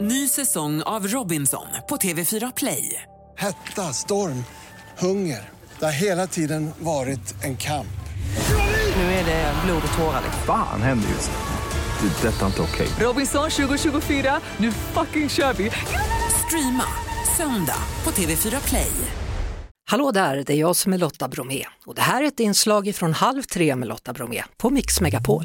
Ny säsong av Robinson på TV4 Play. Hetta, storm, hunger. Det har hela tiden varit en kamp. Nu är det blod och tårar. liksom. Fan händer just nu. Det. är Detta är inte okej. Robinson 2024, nu fucking kör vi! Streama söndag på TV4 Play. Hallå där, det är jag som är Lotta Bromé och det här är ett inslag från Halv tre med Lotta Bromé på Mix Megapol.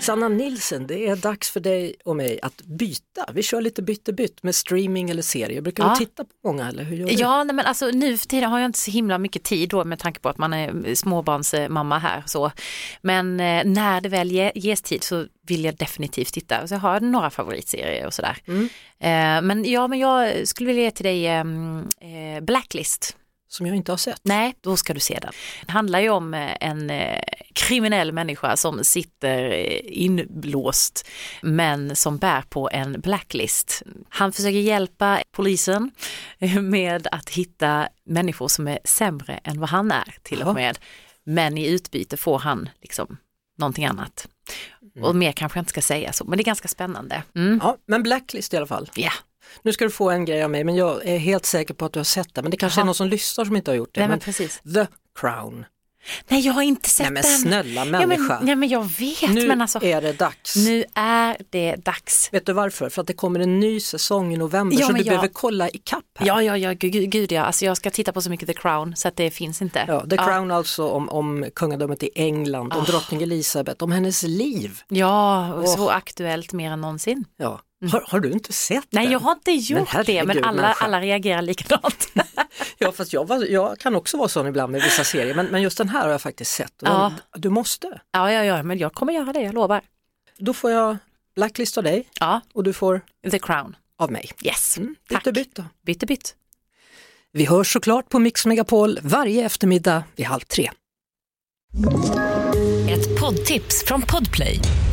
Sanna Nilsen, det är dags för dig och mig att byta. Vi kör lite bytt med streaming eller serier. Brukar Ja. du titta på många eller hur gör du? Ja, nej, men alltså nu för tiden har jag inte så himla mycket tid då med tanke på att man är småbarnsmamma här. Så. Men eh, när det väl ge, ges tid så vill jag definitivt titta. Så jag har några favoritserier och sådär. Eh, men ja, men jag skulle vilja ge till dig eh, eh, Blacklist. Som jag inte har sett. Nej, då ska du se den. Det handlar ju om eh, en eh, kriminell människa som sitter eh, inblåst men som bär på en blacklist. Han försöker hjälpa polisen eh, med att hitta människor som är sämre än vad han är till och med. Men i utbyte får han liksom någonting annat. Mm. Och mer kanske jag inte ska säga så, men det är ganska spännande. Mm. Ja, men Blacklist i alla fall. Ja. Nu ska du få en grej av mig men jag är helt säker på att du har sett det. Men det kanske Jaha. är någon som lyssnar som inte har gjort det. Nej, men precis. The Crown. Nej, jag har inte Nej sett men den. snälla ja, men, människa. nej, men jag vet, nu men alltså är det dags. nu är det dags. Vet du varför? För att det kommer en ny säsong i november Ja, så du men jag- behöver kolla i kapp här. Ja, ja, ja, gud, gud ja. Alltså, jag ska titta på så mycket The Crown så att det finns inte. Ja, The Crown alltså om, om kungadömet i England, om Ah. drottning Elizabeth, om hennes liv. Ja, ja och så aktuellt mer än någonsin. Ja. Har, har du inte sett Mm. Nej, den? jag har inte gjort det, herregud, men alla, människa. alla reagerar likadant. Ja, fast jag, var, jag kan också vara sån ibland med vissa serier, men, men just den här har jag faktiskt sett. Och Ja. den, du måste. ja, ja, ja, men jag kommer göra det, jag lovar. Då får jag blacklist av dig Ja, och du får The Crown. av mig. Yes, Bytt och bytt då. Bytt och bytt. Vi hörs såklart på Mix Megapol varje eftermiddag vid halv tre. Ett poddtips från Podplay.